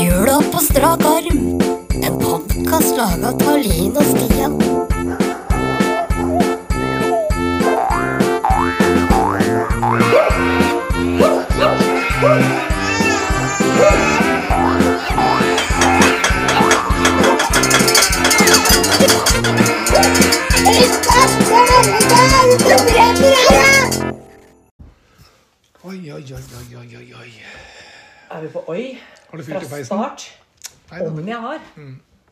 Jula på strak arm. En podkast laga av Linn og Stian. Oi, oi, oi, oi, oi, oi, oi. Er vi på oi? Har du Fra fylt i peisen? start? Nei da, Om det- Mm. jeg har.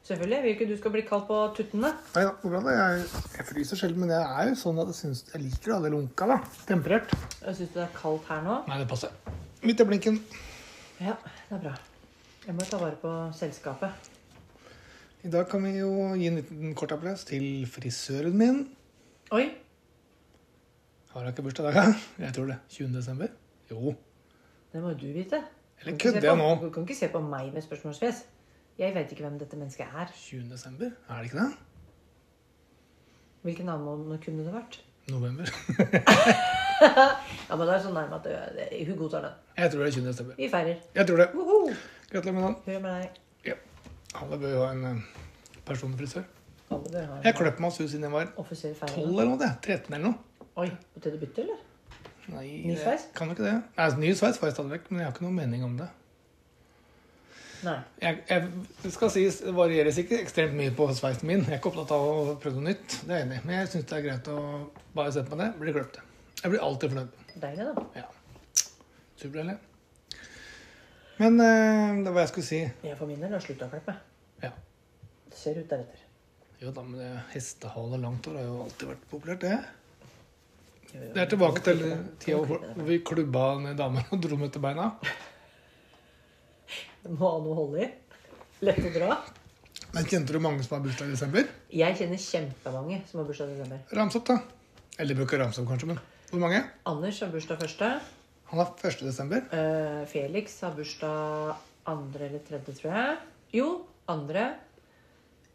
Selvfølgelig. Jeg vil ikke du skal bli kalt på tuttene. nei da, det går bra. det. Jeg, jeg fryser sjelden, men jeg er jo sånn at jeg, synes, jeg liker det, det lunka. da. Temperert. Jeg syns det er kaldt her nå. Nei, det passer. Midt i blinken. Ja, det er bra. Jeg må ta vare på selskapet. I dag kan vi jo gi en liten kort applaus til frisøren min. Oi. Har hun ikke bursdag i dag? da? Jeg tror det. 20. desember? Jo. Det må jo du vite. Eller Du kan ikke se kødder jeg på- nå? Du kan ikke se på meg med spørsmålsfjes. Jeg vet ikke hvem dette mennesket er. 20. desember? Er det ikke det? Hvilken annen måned kunne det vært? November. Ja, men det er så nærme at det, det, hun godtar det. Jeg tror det er 20. desember. Vi feirer. Jeg tror det. Woho! Gratulerer med dagen. Hør med deg. Ja. Alle bør jo ha en eh, personlig frisør. Alle dere har Jeg en kløp meg hos henne siden jeg var offisiell 12 feiring. eller noe. det. 13 eller noe. Oi. På tide å bytte, eller? Nei, Ny det- sveis? Kan du ikke det? Nei, altså, ny sveis får jeg stadig vekk, men jeg har ikke noen mening om det. Nei. Jeg, jeg, det skal sies, det varieres ikke ekstremt mye på sveisen min. Jeg er ikke opptatt av å prøve noe nytt, det er jeg enig i. Men jeg syns det er greit å bare se på det. Bli kløpte. Jeg blir alltid fornøyd. Deilig, da. Ja. Superdeilig. Men eh, det var hva jeg skulle si. Jeg for min del har slutta å klippe. Ja. Det ser ut deretter. Jo da, men det hestehale og langt hår har jo alltid vært populært, det. Jo, jo. Det er tilbake til tida Kan hvor klippe det. hvor vi klubba ned damer og dro dem etter beina. Det Må ha noe å holde i. Lett å dra. Men kjente du mange som har bursdag i desember? Jeg kjenner kjempemange som har bursdag i desember. Rams opp, da. Eller bruker ramse opp, kanskje, men hvor mange? Anders har bursdag første. Han har 1. desember. Eh, Felix har bursdag andre eller tredje, tror jeg. Jo, andre.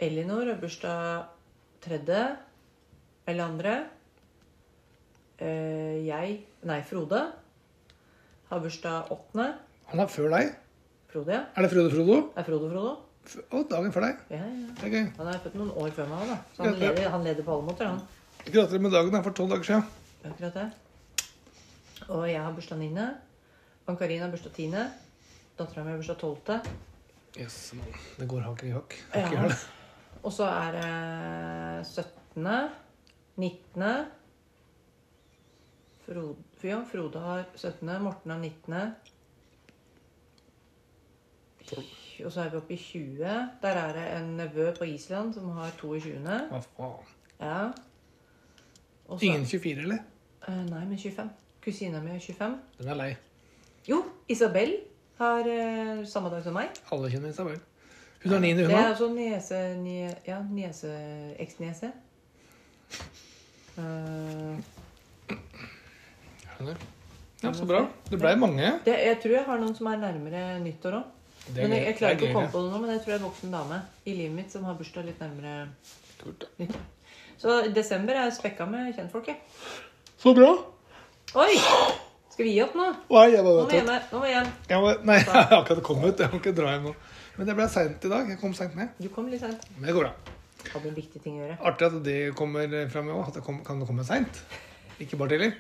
Elinor har bursdag tredje eller andre. Eh, jeg Nei, Frode har bursdag åttende. Han er før deg. Frode, ja. Er det Frode Frodo? Er Frode Frodo? F å, dagen før deg. Ja, ja. Det er gøy. Han er født noen år før meg, da. Så han Ja, ja. leder, han leder på alle måter, han. Gratulerer med dagen. Det er for tolv dager siden. Akkurat det. Og jeg har bursdag 9. Ann Karin har bursdag 10. Dattera mi har bursdag 12. Yes, man. Det går hakk i hakk. Hakk i Ja. hæl. Og så er det 17. 19. Frode, ja, Frode har 17. Morten har 19. Og så er vi oppe i 20. Der er det en nevø på Island som har 22. Hva faen. Ja. Og så- Ingen 24, eller? Eh, nei, men 25. Kusina mi er 25. Den er lei. Jo, Isabel har eh, samme dag som meg. Alle kjenner Isabel. Hun har 9. Det hun er òg. også niese... Nie, ja, niese... Eksniese. Eh, Skjønner. Ja, så bra. Det blei mange. det, jeg tror jeg har noen som er nærmere nyttår òg. Det Jeg, jeg klarer ikke å komme det. på det nå, men jeg tror jeg er en voksen dame i livet mitt som har bursdag litt nærmere Kult, da. nyttår. Så desember er spekka med kjentfolk, jeg. Så bra. Oi! Skal vi gi opp nå? Nei, jeg Nå bare må vi vet at hjem. Nå må vi hjem. jeg var, Nei, jeg har akkurat kommet ut. Jeg må ikke dra hjem nå. Men det ble seint i dag. Jeg kom seint ned. Du kom litt seint. Men det går bra. Hadde en viktig ting å gjøre. Artig at det kommer fram i år. At det kom, kan det komme seint. Ikke bare tidlig.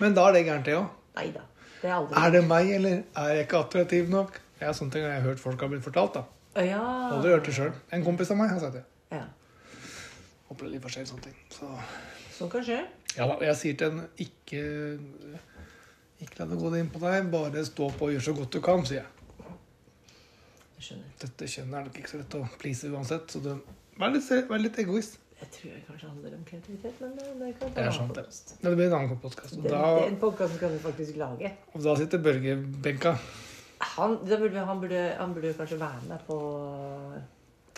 Men da er det gærent, det òg. Nei da. Det er aldri Er det meg, eller er jeg ikke attraktiv nok? Ja, sånne ting har jeg hørt folk har blitt fortalt. da. Ja. Aldri hørt det sjøl. En kompis av meg har sagt det. ja. Opplevd litt forskjellige sånne ting. Så Sånn kan skje. ja da, jeg sier til en ikke Ikke la det gå inn på deg, bare stå på og gjør så godt du kan, sier jeg. Jeg skjønner. Dette kjønnet er nok ikke så lett å please uansett, så du Vær litt, vær litt egoist. Jeg tror jeg kanskje handler om kreativitet, men det, det kan Det er sant, det. Men det blir en annen podkast. Og, Den, da- den podcasten kan vi faktisk lage. og da sitter Børge i benka. Han, da burde, vi- han, burde, han burde kanskje være med på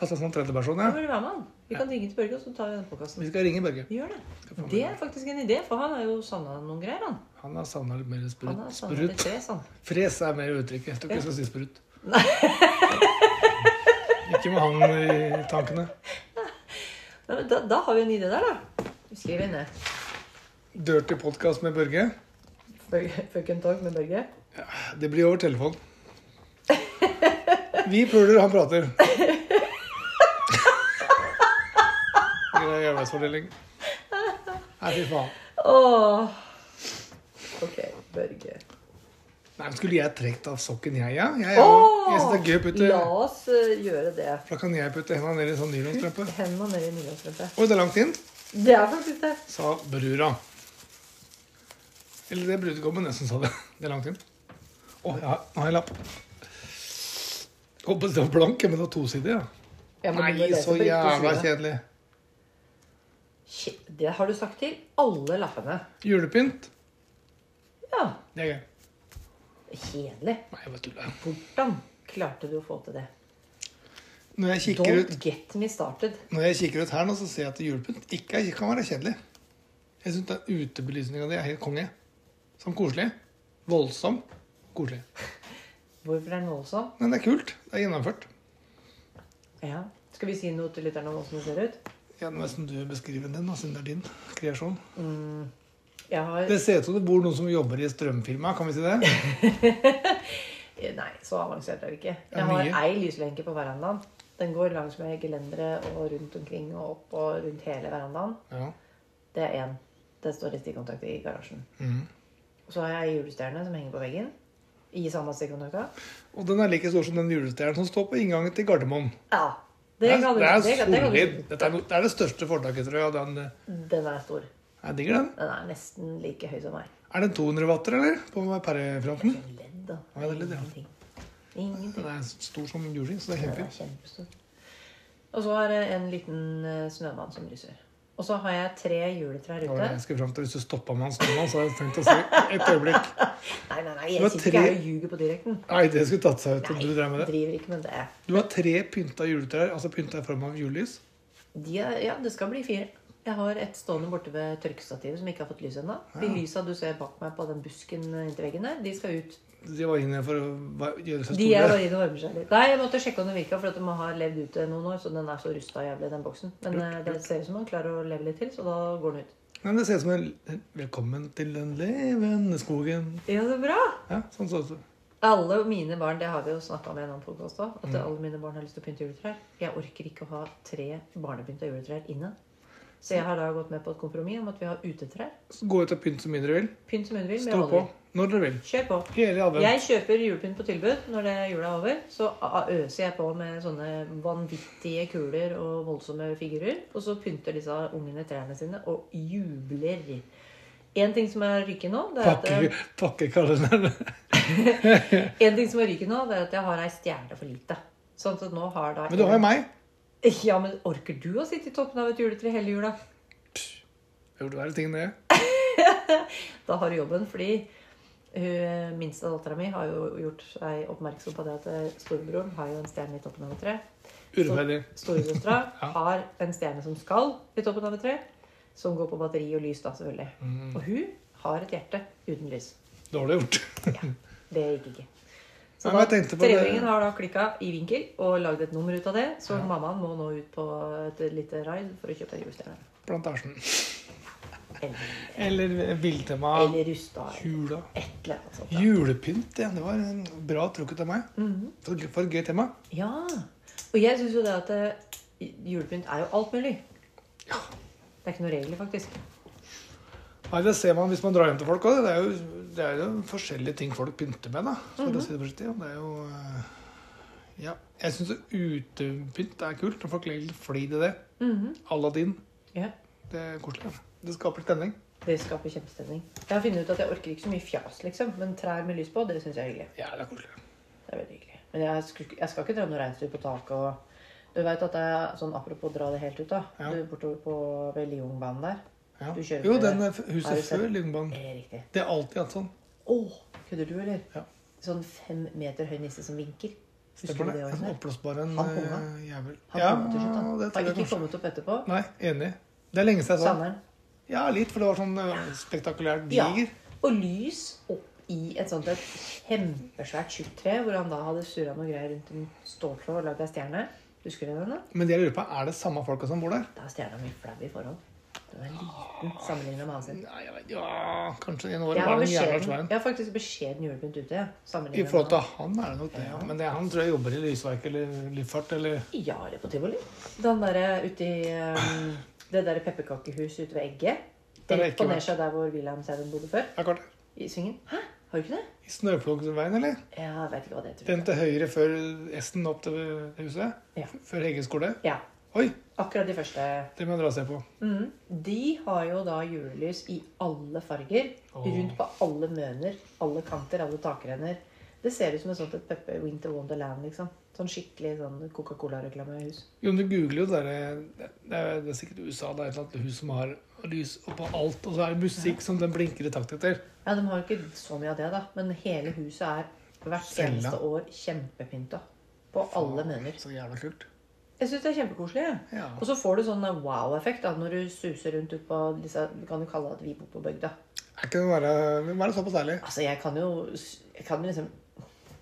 Ta seg som tredjeperson, ja. Han burde være med, han. Vi kan ringe til Børge, og så tar vi den podkasten. Vi skal ringe Børge. Vi gjør det. Skal få med Det er faktisk en idé, for han er jo sanna noen greier, han. Han har savna litt mer sprut. Han er sanna litt sånn. sprut. tres, han. Fres er mer uttrykket. Jeg tror ikke jeg Ja. skal si sprut. ikke med han i tankene. Ja, men Da, da har vi en idé der, da. Vi skriver ned. Dirty podcast med Børge. Børge- Fuck and talk med Børge. Det blir over telefon. Vi puler, han prater. Grei arbeidsfordeling. Nei, fy faen. Åh. Ok, Børge. Nei, men Skulle jeg trukket av sokken, jeg, ja? Jeg, er jo- Åh! jeg synes det er gøy å putte La oss eh, gjøre det. Da kan jeg putte hendene ned i en sånn nylonstrømpe. Henda ned i nyhetsrømpet. Oi, det er langt inn, Det er faktisk det. sa brura. Eller det er brudgommen jeg som sa det. Det er langt inn. Å, jeg har- nå har jeg en lapp. Håper det var blank, men det var tosidig, ja. Jeg må begynne å Nei, lese så på riktig jævla side. kjedelig. Shit, Det har du sagt til alle lappene. Julepynt? Ja, Det er gøy. kjedelig. Nei, jeg bare tuller. Hvordan klarte du å få til det? Når jeg kikker Don't ut, get me started. når jeg kikker ut her nå, så ser jeg at julepynt ikke er, kan være kjedelig. Jeg syns utebelysninga di er helt konge. Sånn koselig. Voldsom. Koselig. Hvorfor er den voldsom? Men det er kult. Det er gjennomført. Ja. Skal vi si noe til lytterne om åssen det ser ut? Ja, det er nesten du beskriver den, da, siden det er din kreasjon. Jeg har Det ser ut som det bor noen som jobber i strømfirma, kan vi si det? Nei, så avansert er det ikke. Ja, Jeg har mye. ei lyslenke på verandaen. Den går langs med gelenderet og rundt omkring og opp og rundt hele verandaen. Ja. Det er én. Det står i stikkontakt i garasjen. Mm. Og så har jeg ei julestjerne som henger på veggen. I samme stikkontakta. Og den er like stor som den julestjernen som står på inngangen til Gardermoen. Ja. Det Det er, kan du det er det kan- det kan du- solid. Dette er, no, det er det største fortaket, tror jeg. og Den, eh, Den er stor. jeg digger den. Den er nesten like høy som meg. Er den 200 watter, eller? På pærefronten? Ledd, da. Ja, det er ledd, ja. Ingenting. Ingenting. Den er stor som juling, så det er Den er kjempefint. kjempestor. Og så har jeg en liten eh, snømann som lyser. Og så har jeg tre juletrær Det var det ute. jeg skulle fram til. Hvis du stoppa med han snømannen, så hadde jeg tenkt å si et øyeblikk. Nei, nei, nei, Du har jeg sitter ikke tre- her og ljuger på direkten. Nei, det skulle tatt seg ut om Nei, du drev med det. driver ikke med det. Du har tre pynta juletrær, altså pynta i form av julelys. De er, ja, det skal bli fire. Jeg har et stående borte ved tørkestativet som ikke har fått lys ennå. De lysa du ser bak meg på den busken eh, inntil veggen der, de skal ut. De var inne for å va- gjøre seg De er store. bare inne og varmer seg litt. Nei, jeg måtte sjekke om den virka, for at de har levd ute noen år, så den er så rusta jævlig, den boksen. Men eh, det ser ut som den klarer å leve litt til, så da går den ut. Nei, men det ser ut som en Velkommen til den levende skogen. Ja, så bra! Ja, sånn så ut. Alle mine barn, det har vi jo snakka om i en annen podkast òg, at alle mine barn har lyst til å pynte juletrær. Jeg orker ikke å ha tre barnepynta juletrær inne. Så jeg har da gått med på et kompromiss om at vi har utetrær. Så Gå ut og pynt så mye dere vil. Pynt som hun vil, med Stå på alder. når dere vil. Kjør på. Hele advent. Jeg kjøper julepynt på tilbud når det jula er over. Så a- øser jeg på med sånne vanvittige kuler og voldsomme figurer. Og så pynter disse ungene trærne sine og jubler. En ting som er ryket nå, det er at, Pakke, pakkekalenderen. eh, en ting som er ryket nå, det er at jeg har ei stjerne for lite. Sånn at nå har da Men du har jo meg. Ja, men orker du å sitte i toppen av et juletre hele jula? Jeg gjorde verre ting enn det. Da har du jobben, fordi hun minste dattera mi har jo gjort seg oppmerksom på det at eh, storebroren har jo en stjerne i toppen av et tre. Urettferdig. Storesøstera Ja. har en stjerne som skal i toppen av et tre, som går på batteri og lys, da selvfølgelig. Og hun har et hjerte uten lys. Dårlig gjort. Det gikk ikke. Så Nei, men da- jeg tenkte på det- treåringen har da klikka i vinkel og lagd et nummer ut av det, så mammaen må nå ut på et lite raid for å kjøpe en julestjerne. Plantasjen. Eller, Eller Biltema. eller rusta. eller Jula. Et eller annet sånt. da. Julepynt, ja. Det var en bra trukket av meg. Mhm. For, for et gøy tema. Ja. Og jeg syns jo det at eh, julepynt er jo alt mulig. Det er ikke noen regler, faktisk. Nei, Det ser man hvis man drar hjem til folk også. Det er jo, det er jo forskjellige ting folk pynter med. da. For Mhm. å si det forsiktig. Og Det er jo... eh, Ja, jeg syns utepynt er kult. Når folk legger litt flid i det. Aladdin. Mhm. Ja. Det er koselig. da. Det skaper stemning. Det skaper kjempestemning. Jeg har funnet ut at jeg orker ikke så mye fjas, liksom. Men trær med lys på, det syns jeg er hyggelig. Ja, det er koselig. Det er veldig hyggelig. Men jeg, skulle ikke- jeg skal ikke dra noe reinsdyr på taket og Du veit at det er sånn apropos dra det helt ut, da. Ja. Du bortover på ved Liungbanen der. Ja. Du kjører Jo, med- den er f- Har du huset sett- før Lyngbanen. Er det riktig? Det er alltid hatt sånn. Å! Kødder du, eller? Ja. Sånn fem meter høy nisse som vinker. Husker Stemmer du det? det En året? oppblåsbar en Han konga. eh, jævel. Han Ja, kom til slutt, han. det tror Har jeg ikke kanskje. kommet opp etterpå. Nei, enig. Det er lenge siden jeg sa det. Savner den. Ja, litt, for det var sånn eh, spektakulært Ja. diger. Og lys opp i et sånt et kjempesvært tjukt tre, hvor han da hadde surra noe greier rundt en ståltråd og lagd ei stjerne. Husker du den? da? Men det jeg lurer på, er det samme folka som bor der? Da er stjerna mi flau i forhold. Du er liten sammenlignet med Hanseth. Nei, jeg vet, ja, kanskje en år Jeg var har, den jævla beskjeden, svein. jeg har faktisk beskjeden julepynt ute. jeg, I sammenlignet forhold med til han er det nok det, ja. Men det, han tror jeg jobber i lysverket eller luftfart eller han. Ja, det er på tivoli. Den derre uti um, Det derre pepperkakehuset ute ved Egget. Der er Rett på ikke vært. Nesja, der hvor Wilhelm Seven bodde før. Ja, kort. I svingen. Hæ? Har du ikke det? I Snøflokkveien, eller? Ja, jeg vet ikke hva det heter. Den til høyre før S-en opp til huset? Ja. Før Hegge skole? Ja. Oi, Akkurat de første. det må jeg dra og se på. Mhm. De har jo da julelys i alle farger. Åh. Rundt på alle møner, alle kanter, alle takrenner. Det ser ut som et sånt et Peppe Winter Wonderland, liksom. Sånn skikkelig sånn Coca-Cola-reklamehus. Jo, men du googler jo det der det, det er det er sikkert i USA, det er et eller annet hus som har lys oppå alt, og så er det musikk som den blinker i takt etter. Ja, de har jo ikke så mye av det, da. Men hele huset er hvert Cella. eneste år kjempepynta. På alle møner. Så jævla kult. Jeg syns det er kjempekoselig. jeg. Ja. Og så får du sånn wow-effekt da, når du suser rundt ut på disse Vi kan jo kalle det at vi bor på bygda. Er ikke det bare Hva er det såpass ærlig? Altså, jeg kan jo Jeg kan jo liksom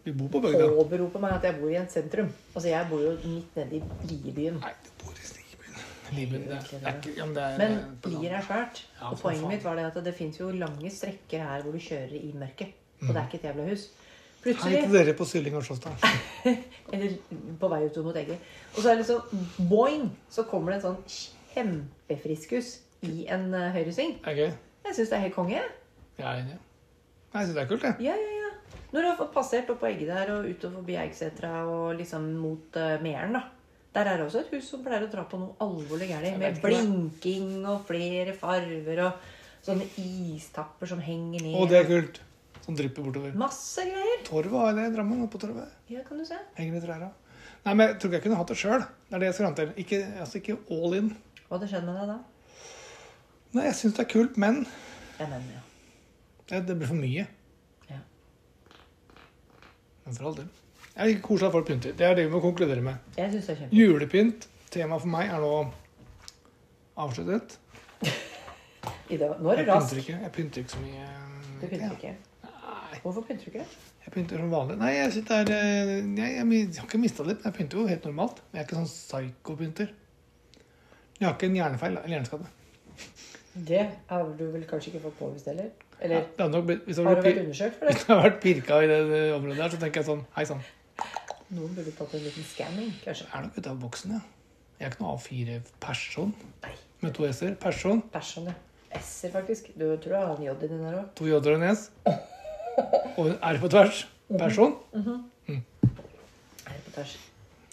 Vi bor på bygda. påberope meg at jeg bor i et sentrum. Altså, jeg bor jo midt nede i Liebyen. Nei, du bor i Stigbyen. Limen, det, er- det er ikke ja, men det er, Men Eh, på landet. Lier er svært. Ja, Og for poenget faen. mitt var det at det fins jo lange strekker her hvor du kjører i mørket. Og det er ikke et jævla hus. Plutselig Mm. Hei til dere på Sylling og Sjåstad. Eller på vei ut mot Egge. Og så er det liksom boing! Så kommer det en sånn kjempefriskus i en eh, høyresving. Det er gøy. Jeg syns det er helt konge. jeg. Jeg er enig. Nei, Jeg syns det er kult, jeg. Ja, ja, ja. Når du har fått passert opp på Egge der og utover forbi Eggsetra og liksom mot uh, Meren, da. Der er det også et hus som pleier å dra på noe alvorlig gærent. Jeg Med vet ikke blinking og flere farver og sånne istapper som henger ned. Å, det er kult. Som drypper bortover. Masse greier. Torvet har jeg det i Drammen. oppe på torvet. Ja, kan du se. Henger i trærne. Nei, men jeg tror ikke jeg kunne hatt det sjøl. Det er det jeg skal fram til. Ikke, altså, ikke all in. Hva hadde skjedd med deg da? Nei, jeg syns det er kult, men Jeg mener, ja. det, det blir for mye. ja. Men for all del. Jeg liker koselig at folk pynter. Det er det vi må konkludere med. Jeg syns det er kjempegøy. Julepynt, temaet for meg, er nå avsluttet. I dag- Nå er Jeg du rask. pynter ikke, jeg pynter ikke så mye. Du pynter ikke? Nei, Hvorfor pynter du ikke det? jeg pynter som vanlig. Nei, jeg, synes det er, eh, jeg, jeg, jeg har ikke mista det. men Jeg pynter jo helt normalt. Men jeg er ikke sånn psyko-pynter. Jeg har ikke en hjernefeil eller hjerneskade. Det har du vel kanskje ikke fått påvist heller? Eller Det hadde nok blitt, hvis det har hadde du blitt vært pir- undersøkt for hvis det? det hadde vært pirka i det det området her, så tenker jeg sånn Hei sann. Noen burde tatt en liten scanning, kanskje. Jeg er nok ute av boksen, ja. Jeg er ikke noe A4-person Nei, med to s-er. Person. bæsj ja. S-er, faktisk. Du tror jeg har en J i den her òg. To j-er og en s. Og en r på tvers. Person. Mm. Her på tvers.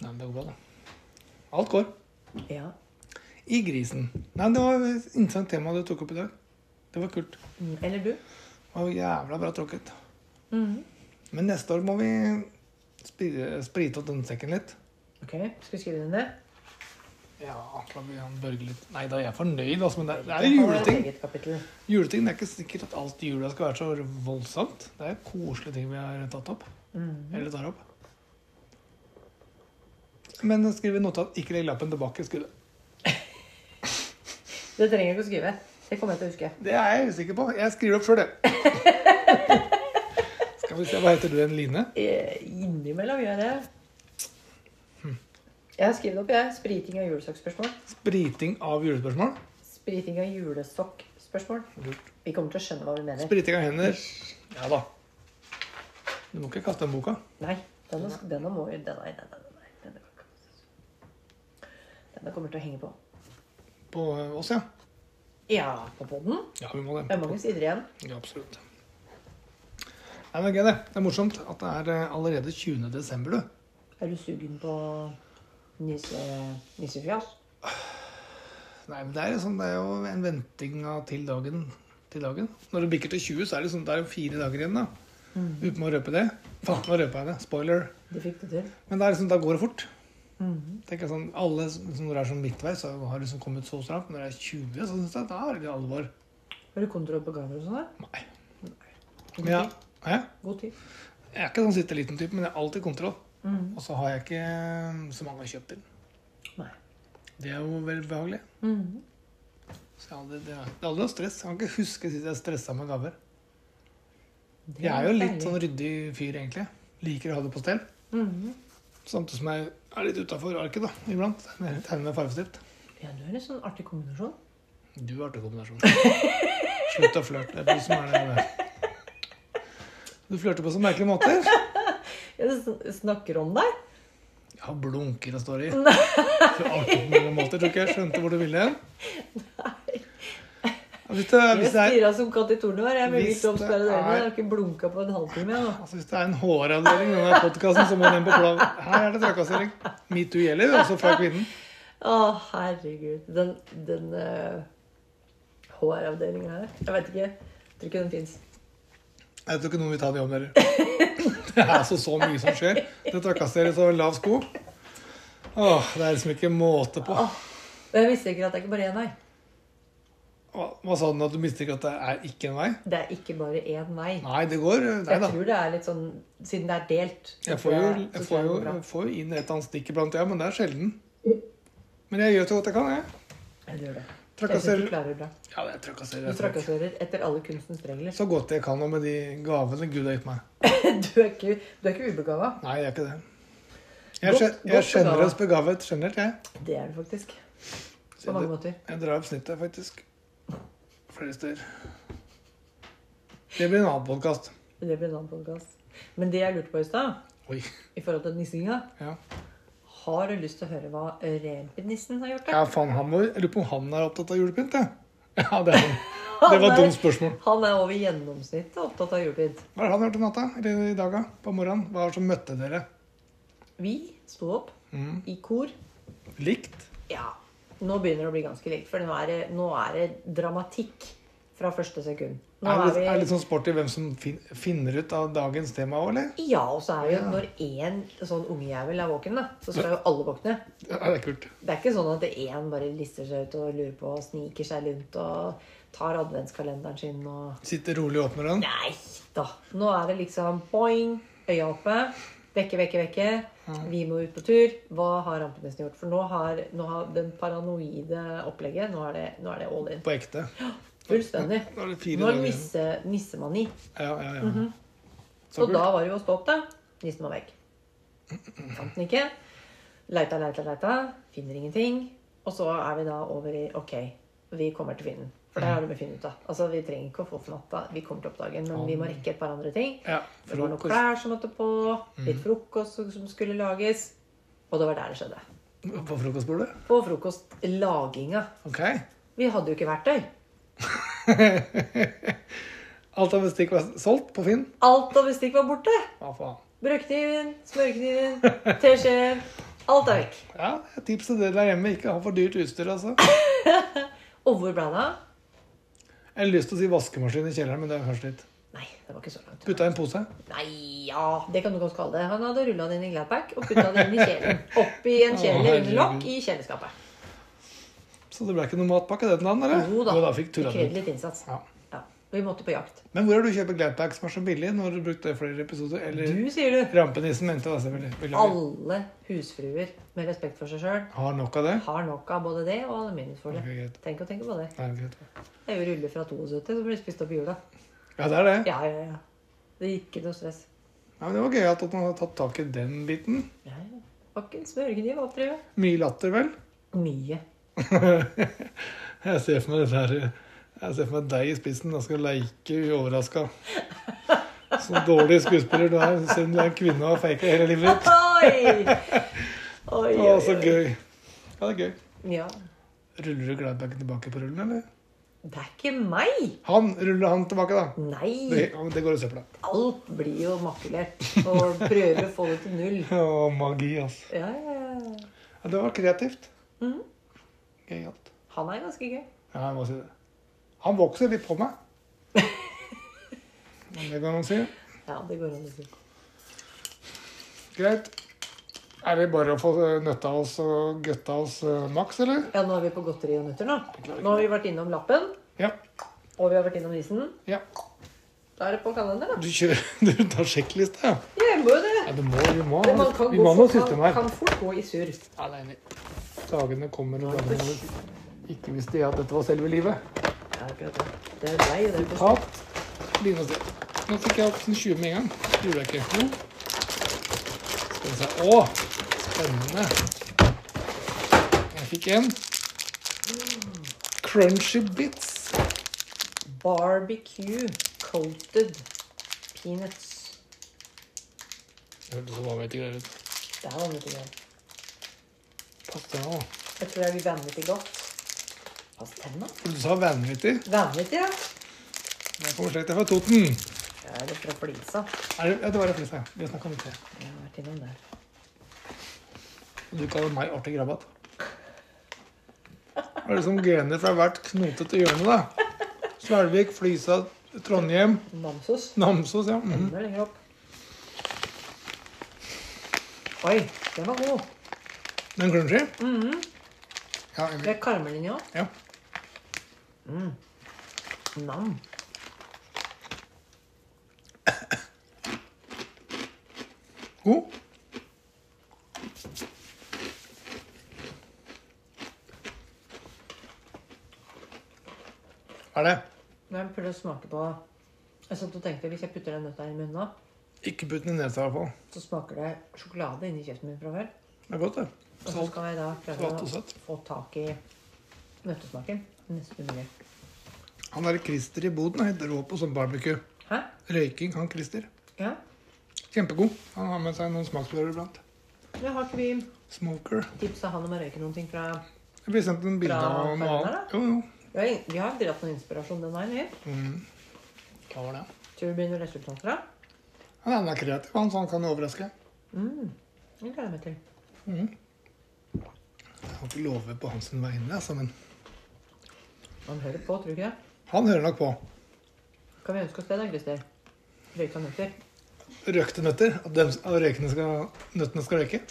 Nei, men det går bra, da. Alt går. Ja. I grisen. Nei, det var et interessant tema du tok opp i dag. Det var kult. Mm, Eller du? Det var jævla bra tråkket. Mhm. Men neste år må vi spire, sprite opp den sekken litt. Ok, skal vi skrive den ned? Ja, da blir han Børge litt Nei da, jeg er fornøyd, altså, men det, det er Det jo har et juleting. eget kapittel. Juleting det er ikke sikkert at alt i jula skal være så voldsomt. Det er koselige ting vi har tatt opp. Mhm. Eller tar opp. Men skriv i notat 'ikke legg lappen tilbake' i skuddet. Det trenger jeg ikke å skrive. Det kommer jeg til å huske. Det er jeg usikker på. Jeg skriver opp sjøl, jeg. Skal vi se, hva heter du igjen? Line? Eh, Innimellom gjør jeg det. Jeg har skrevet opp, jeg. Spriting av julesokkspørsmål. Spriting av julespørsmål. Spriting av julesokkspørsmål. Lurt. Vi kommer til å skjønne hva vi mener. Spriting av hender. Ja da. Du må ikke kaste den boka. Nei, denne, denne må jo denne, denne, denne, denne, kan ikke kastes. denne kommer til å henge på. På oss, ja. Ja, på podden. Ja, vi må Det det. er mange sider igjen. Ja, absolutt. Nei, men gøy, det. Det er morsomt at det er eh, allerede 20. desember, du. Er du sugen på nisse, nissefjas? Nei, men det er, jo sånn, det er jo en venting av til dagen til dagen. Når det bikker til 20, så er det, sånn, det er jo fire dager igjen, da. Uten å røpe det. Faen, nå røpa jeg det. Spoiler. Det fikk du til. Men det er liksom, da går det fort. Mhm. Tenker jeg sånn, alle som som når det er sånn midtveis, så har liksom kommet så stramt. Når det er 20, så syns jeg da er det litt alvor. Har du kontroll på gaver og sånn? da? Nei. God Men ja, tid. hæ? God tid. jeg er ikke sånn sitte liten type, men jeg har alltid kontroll. Mm. Og så har jeg ikke eh, så mange kjøpt inn. Nei. Det er jo veldig behagelig. Mm. Så jeg har aldri, det, er, det er aldri noe stress. Jeg kan ikke huske sist jeg stressa med gaver. Det Jeg er jo litt deilig. sånn ryddig fyr, egentlig. Liker å ha det på stell. Mm. Samtidig som jeg er litt utafor arket, da, iblant. Når jeg Tegner med fargestift. Ja, du er en litt sånn artig kombinasjon. Du har til kombinasjon. Slutt å flørte. Det er du som er det. Du flørter på så merkelige måter. Jeg sn- snakker om deg. Ja, blunker og står i. Så artig på mange måter, tror ikke jeg skjønte hvor du ville hen. Ja, Hvis det, Jeg hvis det er stirra som katt i tornet her. Jeg vil Hvis ikke oppsperre det dørene. er- Jeg har ikke blunka på en halvtime. Jeg, nå. Altså, hvis det er en håravdeling i denne podkasten, så må den på plan. Her er det trakassering. Metoo gjelder jo også fra kvinnen. Å, herregud. Den, den eh, HR-avdelingen her. Jeg vet ikke. Jeg tror ikke den fins. Jeg tror ikke noen vil ta det om dere. Det er altså så mye som skjer. Det trakasseres over lav sko. Åh, det er liksom ikke måte på. Jeg mistenker at det er ikke bare én vei. Hva, hva sa den at du mistenker at det er ikke en vei? Det er ikke bare én vei. Nei, det går. Nei Jeg da. tror det er litt sånn Siden det er delt. så Jeg tror får jo, så jeg tror får jo, det går bra. jeg får jo inn et annet stikk iblant, ja, men det er sjelden. Men jeg gjør så godt jeg kan, jeg. Jeg gjør det. Jeg syns du Trakasserer. klarer det bra. Ja, det er Du trakasserer. trakasserer etter alle kunstens regler. Så godt jeg kan og med de gavene Gud har gitt meg. Du er ikke, du er ikke ubegava. Nei, jeg er ikke det. Jeg er, Godt- skje- jeg er godt generøst begavet generelt, jeg. Det er du faktisk. Så På mange Jeg, måter. jeg drar opp snittet, faktisk. Flere steder. Det blir en annen podkast. Det blir en annen podcast. Men det jeg lurte på i stad, Oi. i forhold til nissinga Ja. Har du lyst til å høre hva Rebnissen har gjort? da? ja, faen, han må Jeg lurer på om han er opptatt av julepynt, jeg. Ja, det, er han. det var Han et er- dumt spørsmål. Han er over gjennomsnittet opptatt av julepynt. Hva har han gjort i natta? Eller i dag, da? På morgenen? Hva er det som møtte dere? Vi sto opp Mm. i kor. Likt? Ja, nå begynner det å bli ganske likt, for nå er det, nå er det dramatikk fra første sekund. Nå Er det, er er det litt vi... sånn sporty hvem som fin, finner ut av dagens tema òg, eller? Ja, og så er det jo Ja. når én sånn ungjævel er våken, da, så skal jo alle våkne. Ja, det er kult. Det er ikke sånn at én bare lister seg ut og lurer på og sniker seg rundt og tar adventskalenderen sin og Sitter rolig og åpner den. Nei da. Nå er det liksom boing, øya oppe. Vekke, vekke, vekke. Mm. Vi må ut på tur. Hva har rampenissen gjort? For nå har, nå har den paranoide opplegget Nå er det, nå er det all in. På ekte. Fullstendig. Nå er det fire Nå er det dager igjen. nisse, nissemani. Ja, ja, ja. Så kult. Så Mhm. da var det jo å stå opp, da. Nissen var vekk. Fant den ikke. Leita, leita, leita. Finner ingenting. Og så er vi da over i OK, vi kommer til å finne den. For der har du med å finne ut av. Altså, vi trenger ikke å få for natta. Vi kommer til oppdagen, men vi må rekke et par andre ting. ja. Det var noen Frokost. Mm. klær som måtte på, litt frokost som- som skulle lages. Og det var der det skjedde. På frokostbordet? På frokostlaginga. Ok. Vi hadde jo ikke verktøy. Alt av bestikk var solgt på Finn? Alt av bestikk var borte. Hva faen? Brødkniven, smørkniven, teskjeen. Alt er vekk. Ja, et tips til dere der hjemme. Ikke ha for dyrt utstyr, altså. Og hvor ble det av? Jeg har lyst til å si vaskemaskin i kjelleren, men det er først litt. Nei, det var ikke så langt. Putta i en pose. Nei, ja, det kan du godt kalle det. Han hadde rulla den inn i Gladpack og putta den inn i kjelen. Oppi en kjele Å, under lokk herregud. i kjeleskapet. Så det ble ikke noe matpakke den dagen, eller? Jo da. Jo da fikk Vi tulla den krevde ut. litt innsats. Ja. Ja, Vi måtte på jakt. Men hvor har du kjøpt Gladpack som er så billig? Nå har du brukt det i flere episoder. Eller Du, sier du. rampenissen mente det, selvfølgelig. Beklager. Alle husfruer med respekt for seg sjøl Har nok av det? har nok av både det og aluminiumsfolie. Ok, greit. Tenk å tenke på det. Nei, greit. Det er jo ruller fra 72 som blir spist opp i jula. Ja, det er det. Ja, ja, ja. Det gikk ikke noe stress. Ja, men det var gøy at man har tatt tak i den biten. Ja, ja. Var ikke smørkniv oppdrevet. Mye latter, vel? Mye. Jeg ser for meg dette her Jeg ser for meg deg i spissen og skal leike uoverraska. Så dårlig skuespiller du er, selv om du er en kvinne og har faka hele livet ditt. Oi! Oi, Å, så gøy. Ja, det er gøy. Ja. Ruller du Gladbacken tilbake på rullen, eller? Det er ikke meg! Han ruller han tilbake, da. Det, Nei! ja, men det går i søpla. Alt blir jo makulert. Og prøver å få det til null. Å, magi, altså. Ja, ja, ja. Ja, det var kreativt. Mhm. Gøyalt. Han er ganske gøy. Ja, jeg må si det. Han vokser litt på meg. Men det kan man si. Ja, det går an å si. Greit. Er det bare å få nøtta oss og gøtta oss eh, maks, eller? Ja, nå er vi på godteri og nøtter nå. Nå har vi vært innom lappen, Ja. og vi har vært innom isen. ja. Da er det på kalenderen, da. Du, kjører, du tar sjekkliste, ja? Ja, jeg må jo det. ja du må, vi må, Men man kan, vi gå må ha noe fort- system kan, her. kan fort gå i surr. Ja, det er enig. Dagene kommer og dagene går. Ikke visste jeg at dette var selve livet. Ja, akkurat det. Det er deg, det. er- Hat. Begynne å se. Nå fikk jeg opp sin 20 med en gang. Det Gjorde jeg ikke. Jo. Skal vi se. Å, spennende. Jeg fikk en. Crunchy bits. Barbecue coated peanuts. Hørtes så vanvittig greier ut. Det er vanvittig godt. Pass deg nå. Jeg tror det blir vanvittig godt. Pass tenna. Du sa vanvittig. Vanvittig, ja. Jeg kommer slekt fra Toten. Jeg er litt fra flisa. Er det, ja, det var det fleste. Vi har snakket om det. Jeg har vært innom det. Du kaller meg artig grabbat. Det er liksom gener fra hvert knotete hjørne, da. Svelvik, Flisa, Trondheim, Namsos. Namsos, ja. Mhm. Enda lenger opp. Oi, den var god. Den crunchy? Mm-hmm. Ja, Det egentlig. er karmelinja. Ja. Nam. God. Hva er det? Når jeg prøver å smake på Jeg satt og tenkte hvis jeg putter den nøtta i munnen nå, Ikke putt den i nesa, i hvert fall. så smaker det sjokolade inni kjeften min fra før. Det er godt, det. Og så Salt. skal jeg da Salt og prøve å søtt. få tak i nøttesmaken. Nesten umulig. Han der Christer i boden er helt rå på sånn barbecue. Hæ? Røyking, han Christer. Ja? Kjempegod. Han har med seg noen smaksprøver iblant. Ja, har ikke vi Smoker. tipsa han om å røyke noen ting fra Jeg ble sendt en bilde Bra av noe farger, annet. Jo, jo. Vi har, vi har dratt noen inspirasjon den veien, vi. Hva var det? Tror du det blir noen resultater av? Han er- han er kreativ, han, så han kan jo overraske. Mm. Det gleder jeg meg til. Jeg kan ikke love på hans vegne, altså, men Han hører på, tror du ikke det? han hører nok på. Kan vi ønske oss det, da, Christer? Røyka nøtter. Røkte nøtter. At, dem, at røykene skal, nøttene skal røyke.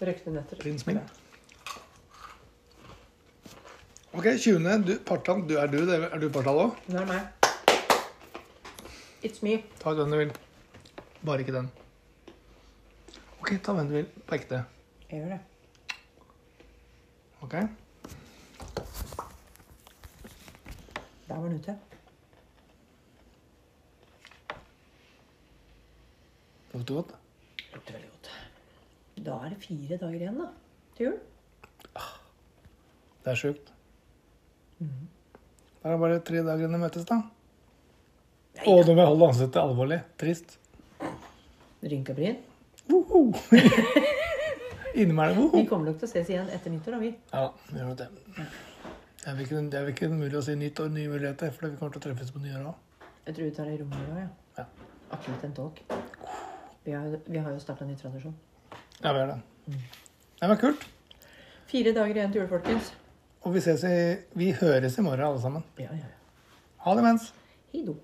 Røykte nøtter. Prins min. Ok, 20. Du, partan, du er du. det Er er du partall òg? Nå er det meg. It's me. Ta den du vil. Bare ikke den. Ok, ta den du vil. På ekte. Jeg gjør det. Ok? Der var den ute. Lukter godt. Lukter veldig godt. Da er det fire dager igjen da, til jul. Det er sjukt. Da er det bare tre dager igjen de møtes, da. Å, nå må jeg holde ansiktet alvorlig. Trist. Rynka bryn. Woho! Inni meg er det Vi woho. kommer nok til å ses igjen etter nyttår, da, vi. Ja, vi gjør nok det. Det er vel ikke, det er vel ikke mulig å si nytt år, nye muligheter, for vi kommer til å treffes på nyåret òg. Jeg tror vi tar det i rommet i dag, ja. Ja. Akkurat en tolk. Vi har, vi har jo starta en ny tradisjon. Ja, vi gjør det. Det var kult. Fire dager igjen til jul, folkens. Og vi ses i Vi høres i morgen, alle sammen. Ja, ja, ja. Ha det mens. Hei do.